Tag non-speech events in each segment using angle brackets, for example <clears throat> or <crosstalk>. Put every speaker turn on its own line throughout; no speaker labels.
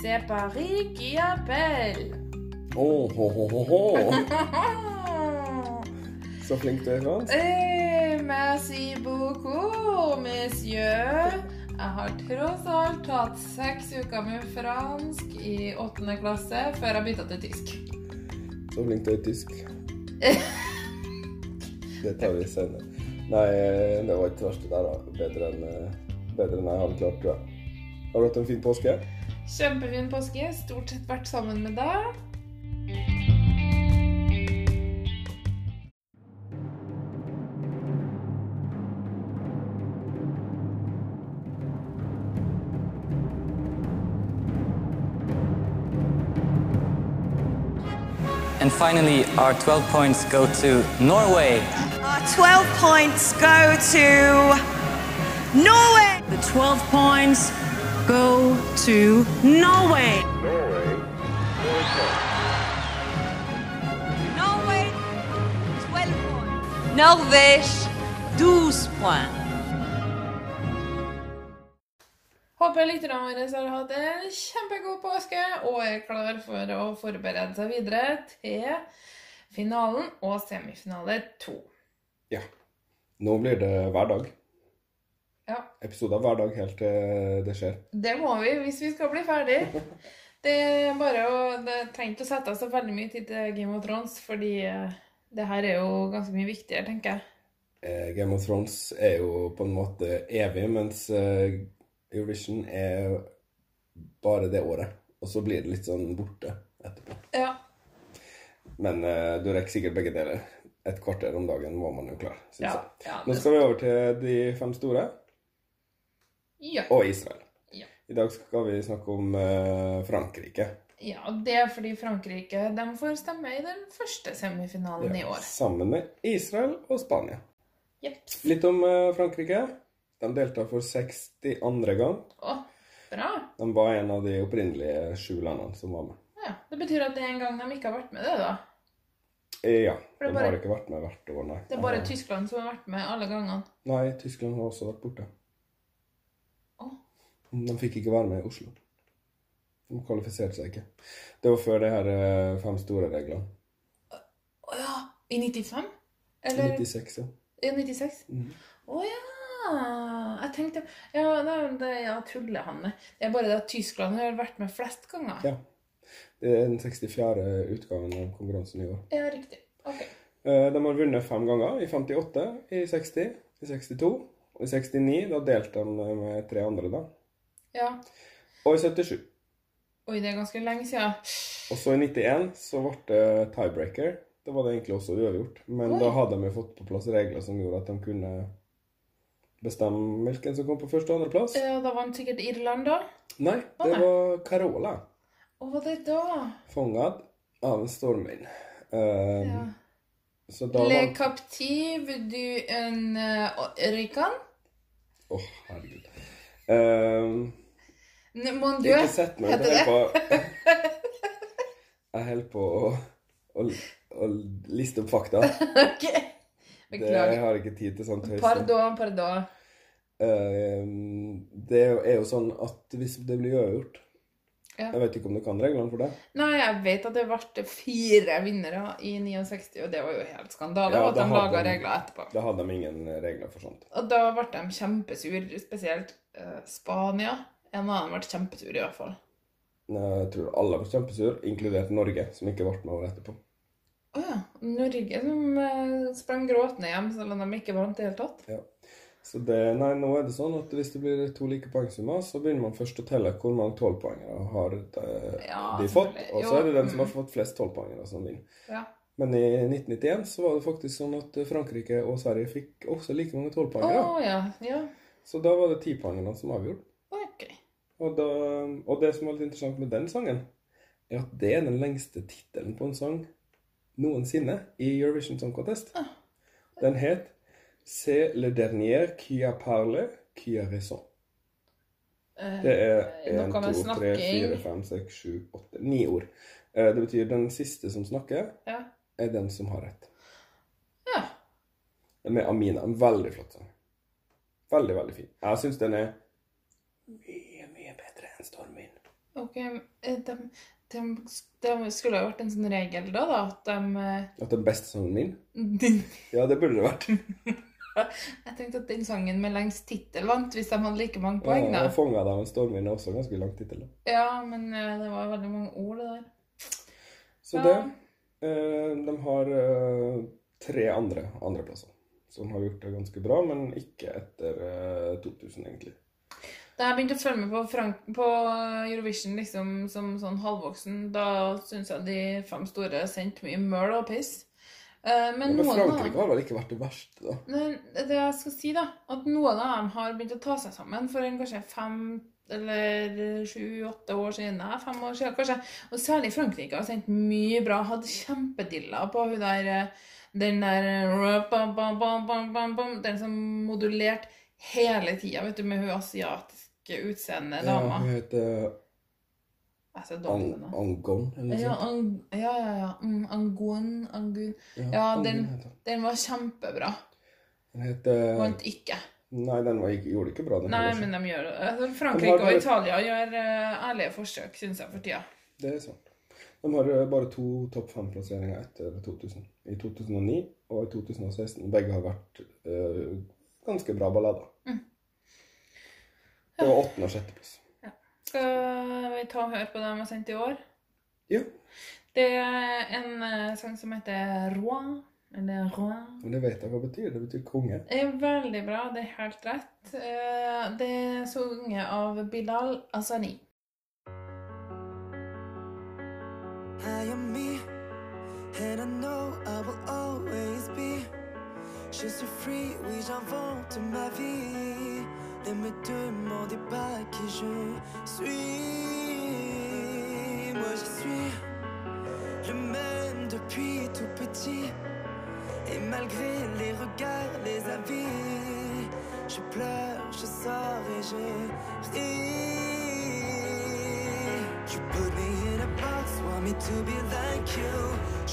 C'est Paris qui appelle.
Oh, oh, oh, oh, oh.
Oh.
Så flink du er, Hans.
Eh, merci beaucoup, messieurs. Jeg har tross alt tatt seks uker med fransk i åttende klasse før jeg bytta til tysk.
Så flink du er i tysk. Det tar vi senere. Nei, eh, det var ikke det verste der, da. Bedre enn eh, bedre enn jeg hadde klart, tror jeg. Har du hatt en fin påske?
Kjempefin påske. Stort sett vært sammen med deg.
And finally, our 12 points go to Norway.
Our 12 points go to Norway.
The 12 points go to Norway.
Norway, 12 points. Norvège, 12 points.
Håper lytterne våre har hatt en kjempegod påske og er klar for å forberede seg videre til finalen og semifinale to.
Ja. Nå blir det hver dag.
Ja,
Episoder hver dag helt til eh, det skjer.
Det må vi hvis vi skal bli ferdig. <laughs> Det er bare å Det trenger ikke å sette så veldig mye tid til Game of Thrones, fordi eh, det her er jo ganske mye viktigere, tenker jeg.
Eh, Game of Thrones er jo på en måte evig, mens eh, Eurovision er bare det året. Og så blir det litt sånn borte etterpå.
Ja.
Men eh, du rekker sikkert begge deler. Et kvarter om dagen var man jo klar. Synes
Ja,
jeg.
ja,
Nå
det-
skal vi over til de fem store
Ja.
og Israel.
Ja.
I dag skal vi snakke om eh, Frankrike.
ja. Det er fordi Frankrike de får stemme i den første semifinalen i år.
Sammen med Israel og Spania.
Jeps.
Litt om eh, Frankrike. De deltar for 62. gang.
Å, bra.
De var en av de opprinnelige sju landene som var med.
Ja, Det betyr at det er en gang de ikke har vært med, det, da.
Eh, Ja.
For det er
De
bare-
har ikke vært med hvert år, nei. Eh.
Det er bare Tyskland som har vært med alle gangene.
Nei, Tyskland har også vært borte.
Å.
De fikk ikke være med i Oslo. De kvalifiserte seg ikke. Det var før det her eh, fem store reglene.
Å ja. I 95? Eller
96, ja.
I 96? Å
Mhm.
ja! Jeg tenkte Ja, nei, men det, ja tullehanne. Det er bare det at Tyskland har vært med flest ganger.
Ja. Det er den 64. utgaven av konkurransen i år.
Ja, riktig. Ok.
Eh, De har vunnet fem ganger. I 58, i 60, i 62 og i 69. Da delte de med tre andre, da.
Ja.
Og i 77.
Oi, det er ganske lenge siden.
Og så i 91 så ble det tiebreaker. Da var det egentlig også uavgjort. Men
Oi.
da hadde de jo fått på plass regler som gjorde at de kunne bestemme hvilken som kom på første og andreplass.
Ja, da vant sikkert Irland, da.
Nei,
Å,
det
nei.
var Carola.
Å, var det da?
Fanget av en stormvind. Um,
Ja.
Så da
Le
vant
captive du en uh, rican?
Å, herregud. Um,
Ne- Mon dieu,
ikke sett meg.
heter det.
Jeg holder på
<laughs>
Jeg holder på å, å, å liste opp fakta.
Ok.
Det,
<laughs>
jeg
Beklager.
har ikke tid til sånn sånt høyeste.
Pardon, pardon.
Eh, det er jo- er jo sånn at hvis det blir uavgjort
Ja.
Jeg vet ikke om du kan reglene for det.
Nei, jeg vet at det ble fire vinnere i 69, og det var jo helt skandale
Ja,
at
da
de
hadde
laga
de-
regler etterpå.
Da hadde de ingen regler for sånt.
Og da ble de kjempesur, spesielt eh, Spania. En annen ble kjempesur, i hvert fall.
Jeg tror alle var kjempesur, inkludert Norge, som ikke ble med året etterpå.
Å ja. Norge som eh, sprang gråtende hjem selv om de ikke vant i det hele tatt.
Så det, nei, nå er det sånn at hvis det blir to like poengsummer, så begynner man først å telle hvor mange tolvpoengere har de,
Ja,
de fått.
selvfølgelig.
Og
Jo,
så er det den som
mm.
har fått flest tolvpoengere, som vinner.
Ja.
Men i 1991 så var det faktisk sånn at Frankrike og Sverige fikk også like mange
Å
tolvpoengere.
ja. ja.
Så da var det tipoengene som avgjorde.
Ok.
Og, da, og det som var litt interessant med den sangen, er at det er den lengste tittelen på en sang noensinne i Eurovision Song Contest.
Ah.
Den het C'est le dernier qui a parlé, qui a raison.
Eh,
Det er
Eh, noe
1,
med
2, 3, 4,
snakking.
5, 6, 7, 8, 9 ord. Eh, Det betyr den siste som snakker,
ja.
er den som har rett.
ja.
Med Amina. En veldig flott sang. Veldig, veldig fin. Jeg syns den er mye, mye bedre enn Stormvind.
Ok, eh, de, de, de skulle jo vært en sånn regel da, da at de eh,
At den beste sangen min?
din,
Ja, det burde det vært.
Jeg tenkte at den sangen med lengst tittel vant, hvis de hadde like mange poeng,
Ja,
da.
og Fanga deg av en stormvind er også ganske lang tittel. da.
Ja, men eh, det var veldig mange ord, det der.
Så
Ja.
det eh, De har eh, tre andre andreplasser som har gjort det ganske bra, men ikke etter eh, 2000, egentlig.
Da jeg begynte å følge med på, Frank på Eurovision liksom, som sånn halvvoksen, da syns jeg de fem store sendte mye møl og piss. Eh, men
Ja, men
noen av
Frankrike
dem
har vel ikke vært det verste, da.
Men det jeg skal si, da, at noen av dem har begynt å ta seg sammen for en kanskje fem eller sju-åtte år siden. Nei, fem år siden, kanskje. Og særlig Frankrike har sendt mye bra. Hadde kjempedilla på hun der eh, Den der eh, bam, bam, bam, bam, bam, bam, Den som modulerte hele tida, vet du, med hun asiatiske utseende dama.
Ja, hun heter
Jeg ser dårlig
Ang
ut nå.
Angon, eller noe
Ja,
sånt.
ang, ja, ja. ja. Mm, angun, angun. Ja,
Angon
den,
heter hun.
den var kjempebra.
Den heter
Vant ikke.
Nei, den var ikke, gjorde ikke bra. Den
Nei,
heller.
men de gjør det. Altså,
Men
Frankrike
har
og
dere-
Italia gjør eh, ærlige forsøk, syns jeg, for tida.
Det er sant. De har eh, bare to topp fem-plasseringer etter 2000. I 2009 og i 2016. Begge har vært eh, ganske bra ballader. Det var åttende- og sjetteplass.
Skal vi ta og høre på det de har sendt i år?
Ja,
Det er en eh, sang som heter Roi. Eller Roi.
men det vet jeg hva det betyr. Det betyr konge.
Det er veldig bra, det er helt rett. Eh, Det er sunget av Bilal Asani.
I am me, and I know I will always be. Je suis free, oui, j'invente ma vie. Ne me demandez pas qui je suis. Moi, je suis le même depuis tout petit. Et malgré les regards, les avis, je pleure, je sors et je ris. You put me in a box, want me to be like you. Je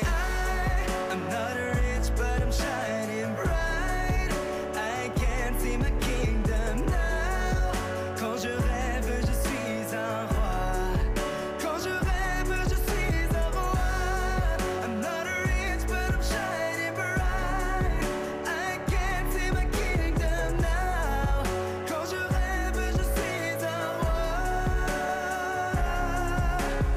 I- I'm not rich, but I'm shining bright. I can't see my kingdom now. Quand je rêve, je suis un roi. Quand je rêve, je suis un roi. I'm not rich, but I'm shining bright. I can't see my kingdom now. Quand je rêve, je suis un roi.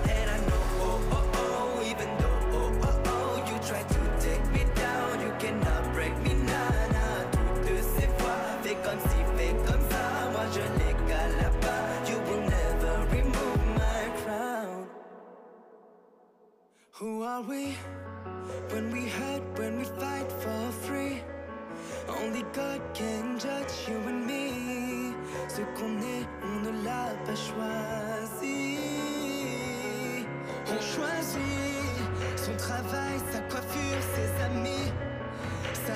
And I know, oh, oh, oh, even though, oh, oh, oh, you try to take me down, you cannot break me now. now. Toutes ces fois, fais comme si, fais comme ça, moi je l'égale là-bas. You will never remove my crown. Who are we? When we hurt, when we fight for free. Only God can judge you and me. Ce qu'on est, on ne l'a pas choisi. On choisit son travail, sa coiffure, ses amis, sa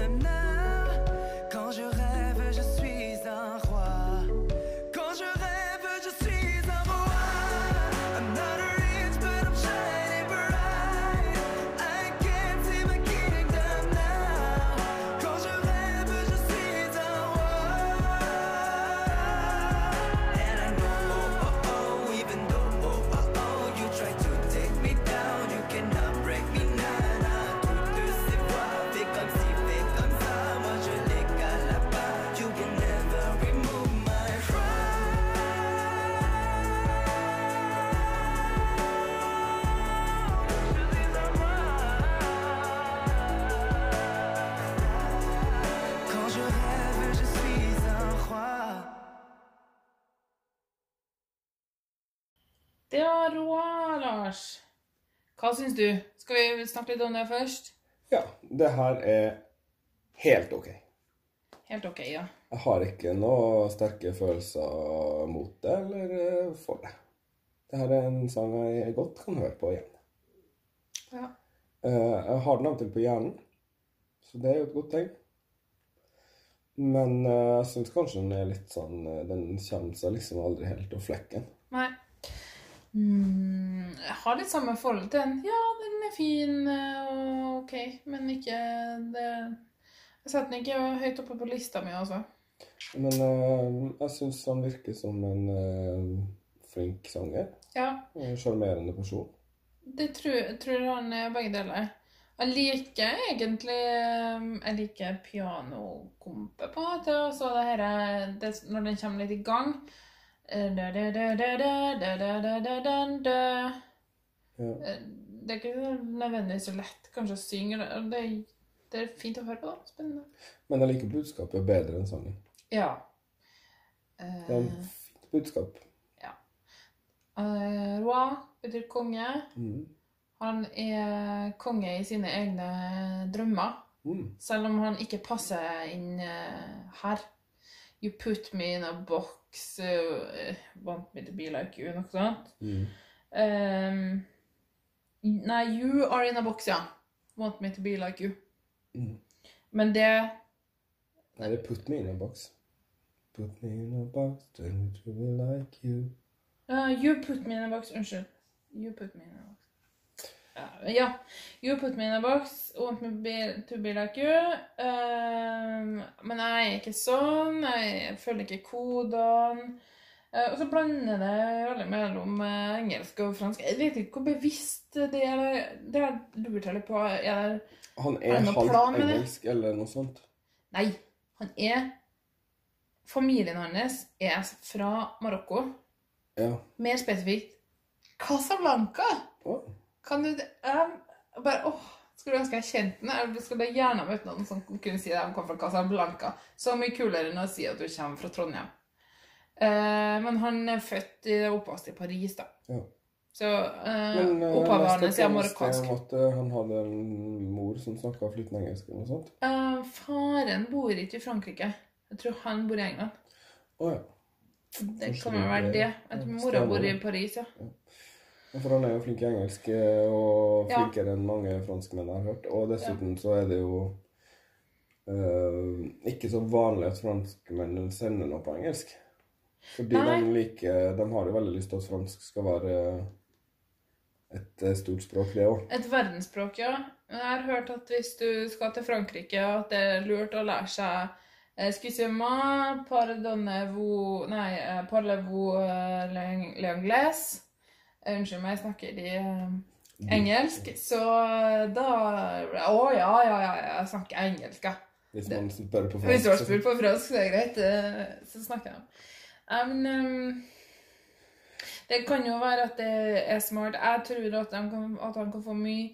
now. Quand je rêve, je suis un roi. Quand je rêve, je suis un roi. I'm not rich, but I'm shining bright. I can't see my kingdom now. Quand je rêve, je suis un roi. And I know, oh, oh, oh, even though, oh, oh, oh, you try to take me down, you cannot break me now. Nah, toutes ces fois, fais comme si, fais comme ça, moi je l'égale là-bas. You will never remove my pride. Quand je rêve, je suis un roi.
Det var Roi, Lars. Hva syns du? Skal vi snakke litt om det først?
Ja, det her er helt OK.
Helt OK, ja.
Jeg har ikke noe sterke følelser mot det eller eh, for det. Det her er en sang jeg godt kan høre på igjen.
Ja.
Eh, jeg har den av og til på hjernen, så det er jo et godt tegn. Men eh, jeg syns kanskje den er litt sånn eh, Den kommer seg liksom aldri helt av flekken.
Nei. Mm, jeg har litt samme forhold til den. Ja, den er fin eh, og ok, men ikke det Jeg setter den ikke høyt oppe på lista mi, altså.
Men eh, jeg syns han virker som en eh, flink sanger.
Ja,
og En sjarmerende person.
det tror, jeg tror han er begge deler. Jeg liker egentlig eh, Jeg liker pianokompet på en måte, og så det herre det, Når den kommer litt i gang Eh, da, da, da, da, da, da, da, da, da, da, da.
Ja.
Eh, Det er ikke nødvendigvis så lett kanskje å synge. det- og Det, det er fint å høre på. da. Spennende.
Men jeg liker budskapet bedre enn sangen.
Ja. Eh,
Det er et fint budskap.
eh, Roi betyr konge.
Mm.
Han er konge i sine egne drømmer,
Mm.
selv om han ikke passer inn eh, her. You put me in a box, eh, want me to be like you, noe sånt.
Mm.
Ehm, nei, you are in a box, ja. Want me to be like you.
Mm.
Men det
Nei, det er Put Me In A Box. Put me in a box, turn it to me like you.
eh, You put me in a box. Unnskyld. You put me in a box. Ja, ja. You put me in a box. Want me be, to be like you. Ehm, men jeg er ikke sånn. Jeg følger ikke kodene. Eh, og så blander det veldig mellom eh, engelsk og fransk. Jeg vet ikke hvor bevisst det er. Det har jeg lurt litt på. Er det
Han
Er
er
det noen plan
halvt
med det?
engelsk eller noe sånt.
Nei, han er Familien hans er fra Marokko.
Ja.
Mer spesifikt Casablanca!
Å,
Kan du jeg bare, åh, Skulle ønske jeg kjente den. Jeg skulle gjerne møtt noen som kunne si at de kom fra Casablanca. Så mye kulere enn å si at du kommer fra Trondheim. Eh, men han er født i oppvokst i Paris, da.
Ja.
Så eh,
Men eh,
opphavet hans
leste et
er
eller annet
marokkansk.
sted om at eh, han hadde en mor som snakka flytende engelsk eller noe sånt.
Eh, faren bor ikke i Frankrike. Jeg tror han bor i England.
Å ja.
Det
Kanskje
kan vel
det
være
blir-
det. At
ja,
mora bor i
stemmer.
Paris, ja.
For han er jo flink i engelsk, eh, og
Ja.
flinkere enn mange franskmenn jeg har hørt. Og dessuten så er det jo eh, ikke så vanlig at franskmenn sender noe på engelsk. Fordi
Nei.
de liker De har jo veldig lyst til at fransk skal være eh, et eh, stort språk, det òg.
Et verdensspråk, ja. Jeg har hørt at hvis du skal til Frankrike, at det er lurt å lære seg eh, Excusez-moi, pardonnez-vous Nei, eh, parlez-vous eh, l'ang- l'anglais? Eh, Unnskyld meg, jeg snakker i eh, engelsk. Så eh, da Å ja, ja, ja, ja, jeg snakker engelsk, ja.
Hvis man spør på
Hvis du
fransk.
har
så-
spurt på fransk, så er det greit. eh, Så snakker jeg. Nei, men ehm, Det kan jo være at det er smart. Jeg tror at, de kan, at han kan få mye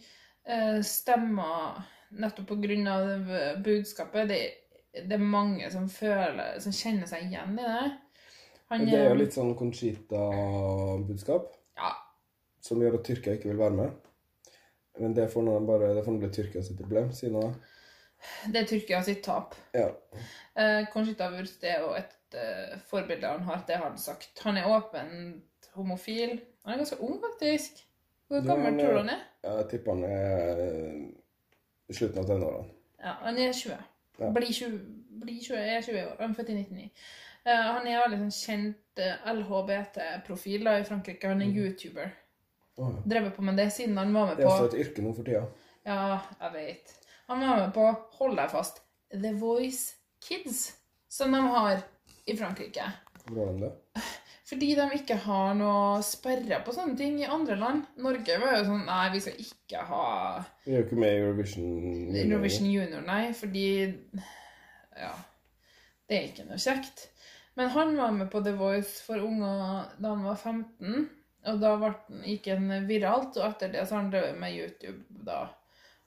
eh, stemmer nettopp pga. budskapet. Det, det er mange som føler Som kjenner seg igjen i det. Han,
Det er
eh,
jo litt sånn Conchita-budskap,
Ja.
som gjør at Tyrkia ikke vil være med. Men det får nå bare Det får nå bli Tyrkia sitt problem, sier nå.
Det er Tyrkia sitt tap.
Ja.
Eh, Conchita Wurst er jo et eh, forbilde han har, det har han sagt. Han er åpent homofil. Han er ganske ung, faktisk. Hvor
Ja,
gammel
han er-
tror du han er?
Jeg tipper han er eh, i slutten av tenårene.
Ja, han er 20.
Ja.
Blir 20, blir 20, er 20 år. Han er født i 1999. Eh, han er veldig sånn kjent LHBT-profil da, i Frankrike. Han er YouTuber.
Oh, ja.
Drevet på med det siden han var med
Mm. Det er også
på
et yrke nå for tida.
Ja, jeg vet. Han var med på Hold deg fast The Voice Kids, som de har i Frankrike.
Hvordan det?
Fordi de ikke har noe sperre på sånne ting i andre land. Norge var jo sånn Nei, vi skal ikke ha
Vi er jo ikke med i Eurovision.
Eurovision Junior, nei, fordi Ja. Det er ikke noe kjekt. Men han var med på The Voice for unger da han var 15. Og da ble den- gikk han viralt, og etter det så har han drevet med YouTube da.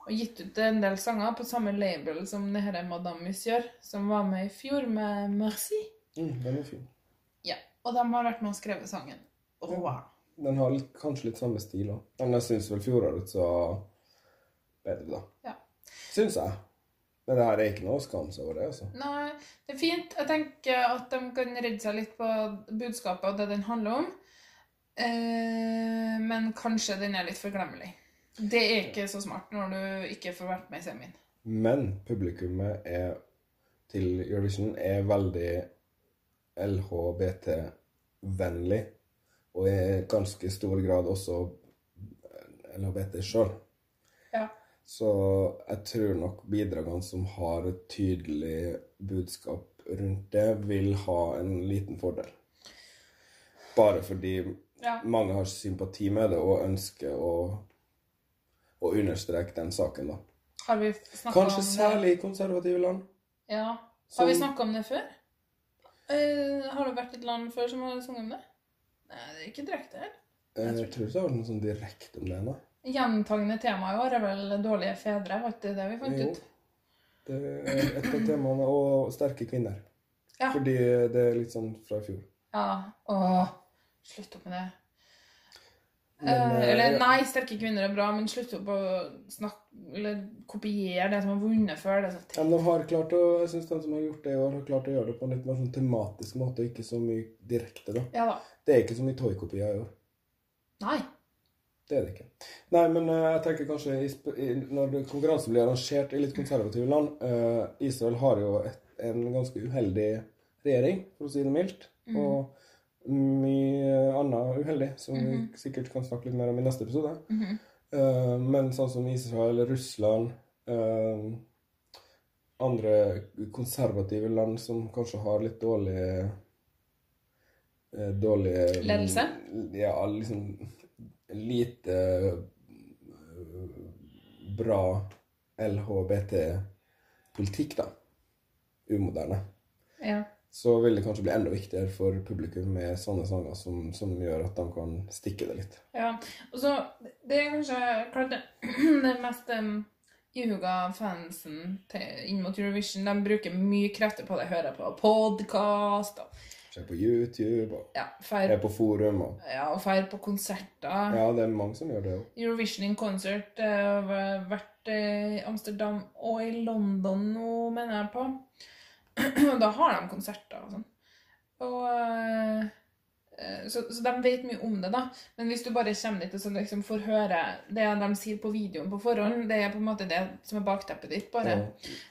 Og gitt ut en del sanger på samme label som det her Madame Monsieur, som var med i fjor med Merci.
Mm, den er fin.
Ja, og de har vært med og skrevet sangen. Wow.
Den har litt, kanskje litt samme stil òg. Men jeg syns vel fjorårets var bedre, da.
Ja.
Syns jeg. Men det her er ikke noe å skamme seg over, det, altså.
Nei, det er fint. Jeg tenker at de kan redde seg litt på budskapet og det den handler om. Eh, men kanskje den er litt forglemmelig. Det er ikke så smart når du ikke får vært med i semien.
Men publikummet er, til Eurovision er veldig LHBT-vennlig, og er i ganske stor grad også LHBT sjøl.
Ja.
Så jeg tror nok bidragene som har et tydelig budskap rundt det, vil ha en liten fordel. Bare fordi
Ja.
mange har sympati med det og ønsker å, å understreke den saken, da.
Har vi snakket
Kanskje
om det?
særlig i konservative land.
Ja. Har vi
Som-
snakka om det før? Eh, har det vært et land før som har sunget om det? Nei, det er ikke direkte. eller?
eh, Jeg tror ikke det var noe sånn direkte om det ennå.
Gjentagende tema i år er vel dårlige fedre, var ikke det det vi fant
Jo.
ut?
Det er et av temaene, og sterke kvinner.
Ja.
Fordi det er litt sånn fra i fjor.
Ja. Åh, slutt opp med det.
Men,
Eh,
eh,
eller
ja.
nei, sterke kvinner er bra, men slutt opp å snakke Eller kopiere det som har vunnet før. Det er så
Ja, Men de har klart å, jeg synes de som har gjort det i år, har klart å gjøre det på en litt mer sånn tematisk måte, ikke så mye direkte. da.
Ja da.
Det er ikke så mye toykopier i år.
Nei.
Det er det ikke. Nei, men eh, jeg tenker kanskje i, sp- i, når det- konkurransen blir arrangert i litt konservative land eh, Israel har jo et, en ganske uheldig regjering, for å si det mildt. Og mye annet uheldig, som vi sikkert kan snakke litt mer om i neste episode. Eh, men sånn som Israel, Russland eh, Andre konservative land som kanskje har litt dårlig eh, Dårlig
Ledelse?
Ja, liksom lite eh, bra LHBT-politikk, da. Umoderne.
Ja.
Så vil det kanskje bli enda viktigere for publikum med sånne sanger som, som gjør at de kan stikke det litt.
Ja, og så Det er kanskje klart det, <clears throat> det mest um, ihuga fansen til, inn mot Eurovision. De bruker mye krefter på det. Hører på podkast og
Se på YouTube og
ja, feir,
er på forum og
ja, og feir på konserter.
Ja, det er mange som gjør det òg.
Eurovision in concert eh, har vært eh, i Amsterdam og i London nå, mener jeg på. Og <clears throat> da har de konserter og sånn. Og, eh, eh, så, så de vet mye om det, da. Men hvis du bare kommer dit og så liksom får høre det de sier på videoen på forhånd, det er på en måte det som er bakteppet ditt, bare.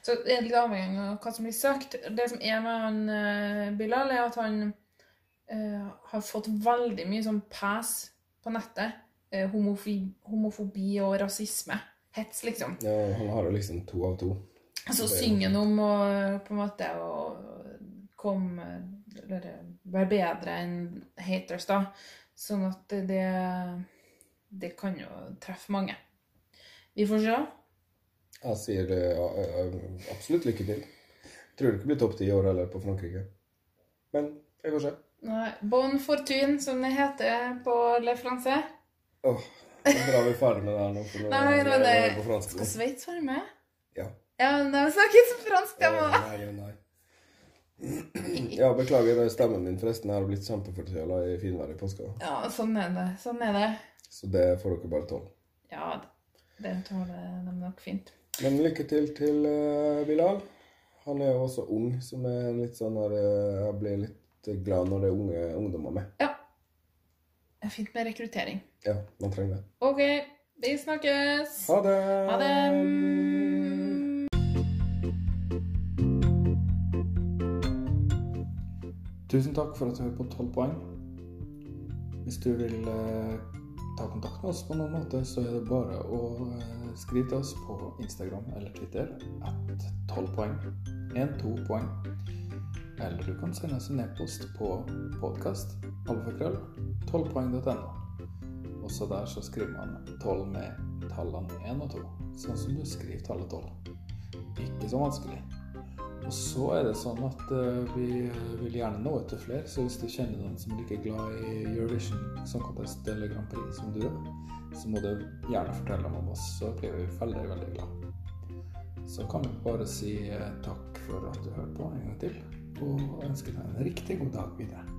Så det er litt avhengig av hva som blir sagt. Det som er med han eh, Bilal, er at han eh, har fått veldig mye sånn pass på nettet. Eh, homofi, homofobi og rasisme. Hets, liksom.
Ja, han har jo liksom to av to.
Så
Det er jo
synger han om å på en måte å komme Eller være bedre enn haters, da. Sånn at det Det kan jo treffe mange. Vi får se.
Jeg sier eh, ja, eh, absolutt lykke til. Tror det ikke blir topp ti i år heller på Frankrike. Men jeg får se.
Nei, Bon fortune, som det heter på Le Francais.
Åh, så bra vi er ferdig med det her nå. For nå
Nei, nå er
jeg
det-
på fransk.
Skal Sveits være med?
Ja.
Ja, men de snakker ikke fransk, de
Åh,
òg.
nei, åh, nei. Ja, beklager det er stemmen min. Forresten, jeg har blitt kjempeforkjøla i finværet i påska.
Ja, sånn er det. Sånn er det.
Så det får dere bare tåle.
Ja, det tåler de nok fint.
Men lykke til til eh, Bilal. Han er jo også ung, som er litt sånn her eh, Jeg blir litt glad når det er unge ungdommer med.
Ja. Det er fint med rekruttering.
Ja, man trenger det.
OK, vi snakkes.
Ha det!
Ha det.
Tusen takk for at du hører på 12 poeng. Hvis du vil eh, ta kontakt med oss på noen måte, så er det bare å eh, skrive til oss på Instagram eller Twitter at 12 poeng. 1, 2 poeng. Eller du kan sende oss en e-post på podkast alfakrøll 12poeng.no. Også der så skriver man 12 med tallene 1 og 2, sånn som du skriver tallet 12. Ikke så vanskelig. Og så er det sånn at eh, vi vil gjerne nå ut til flere, så hvis du kjenner noen som er like glad i Eurovision Song Contest eller Grand Prix som du er, så må du gjerne fortelle dem om oss, så blir vi veldig, veldig glad. Så kan vi bare si eh, takk for at du hørte på en gang til, og ønsker deg en riktig god dag videre.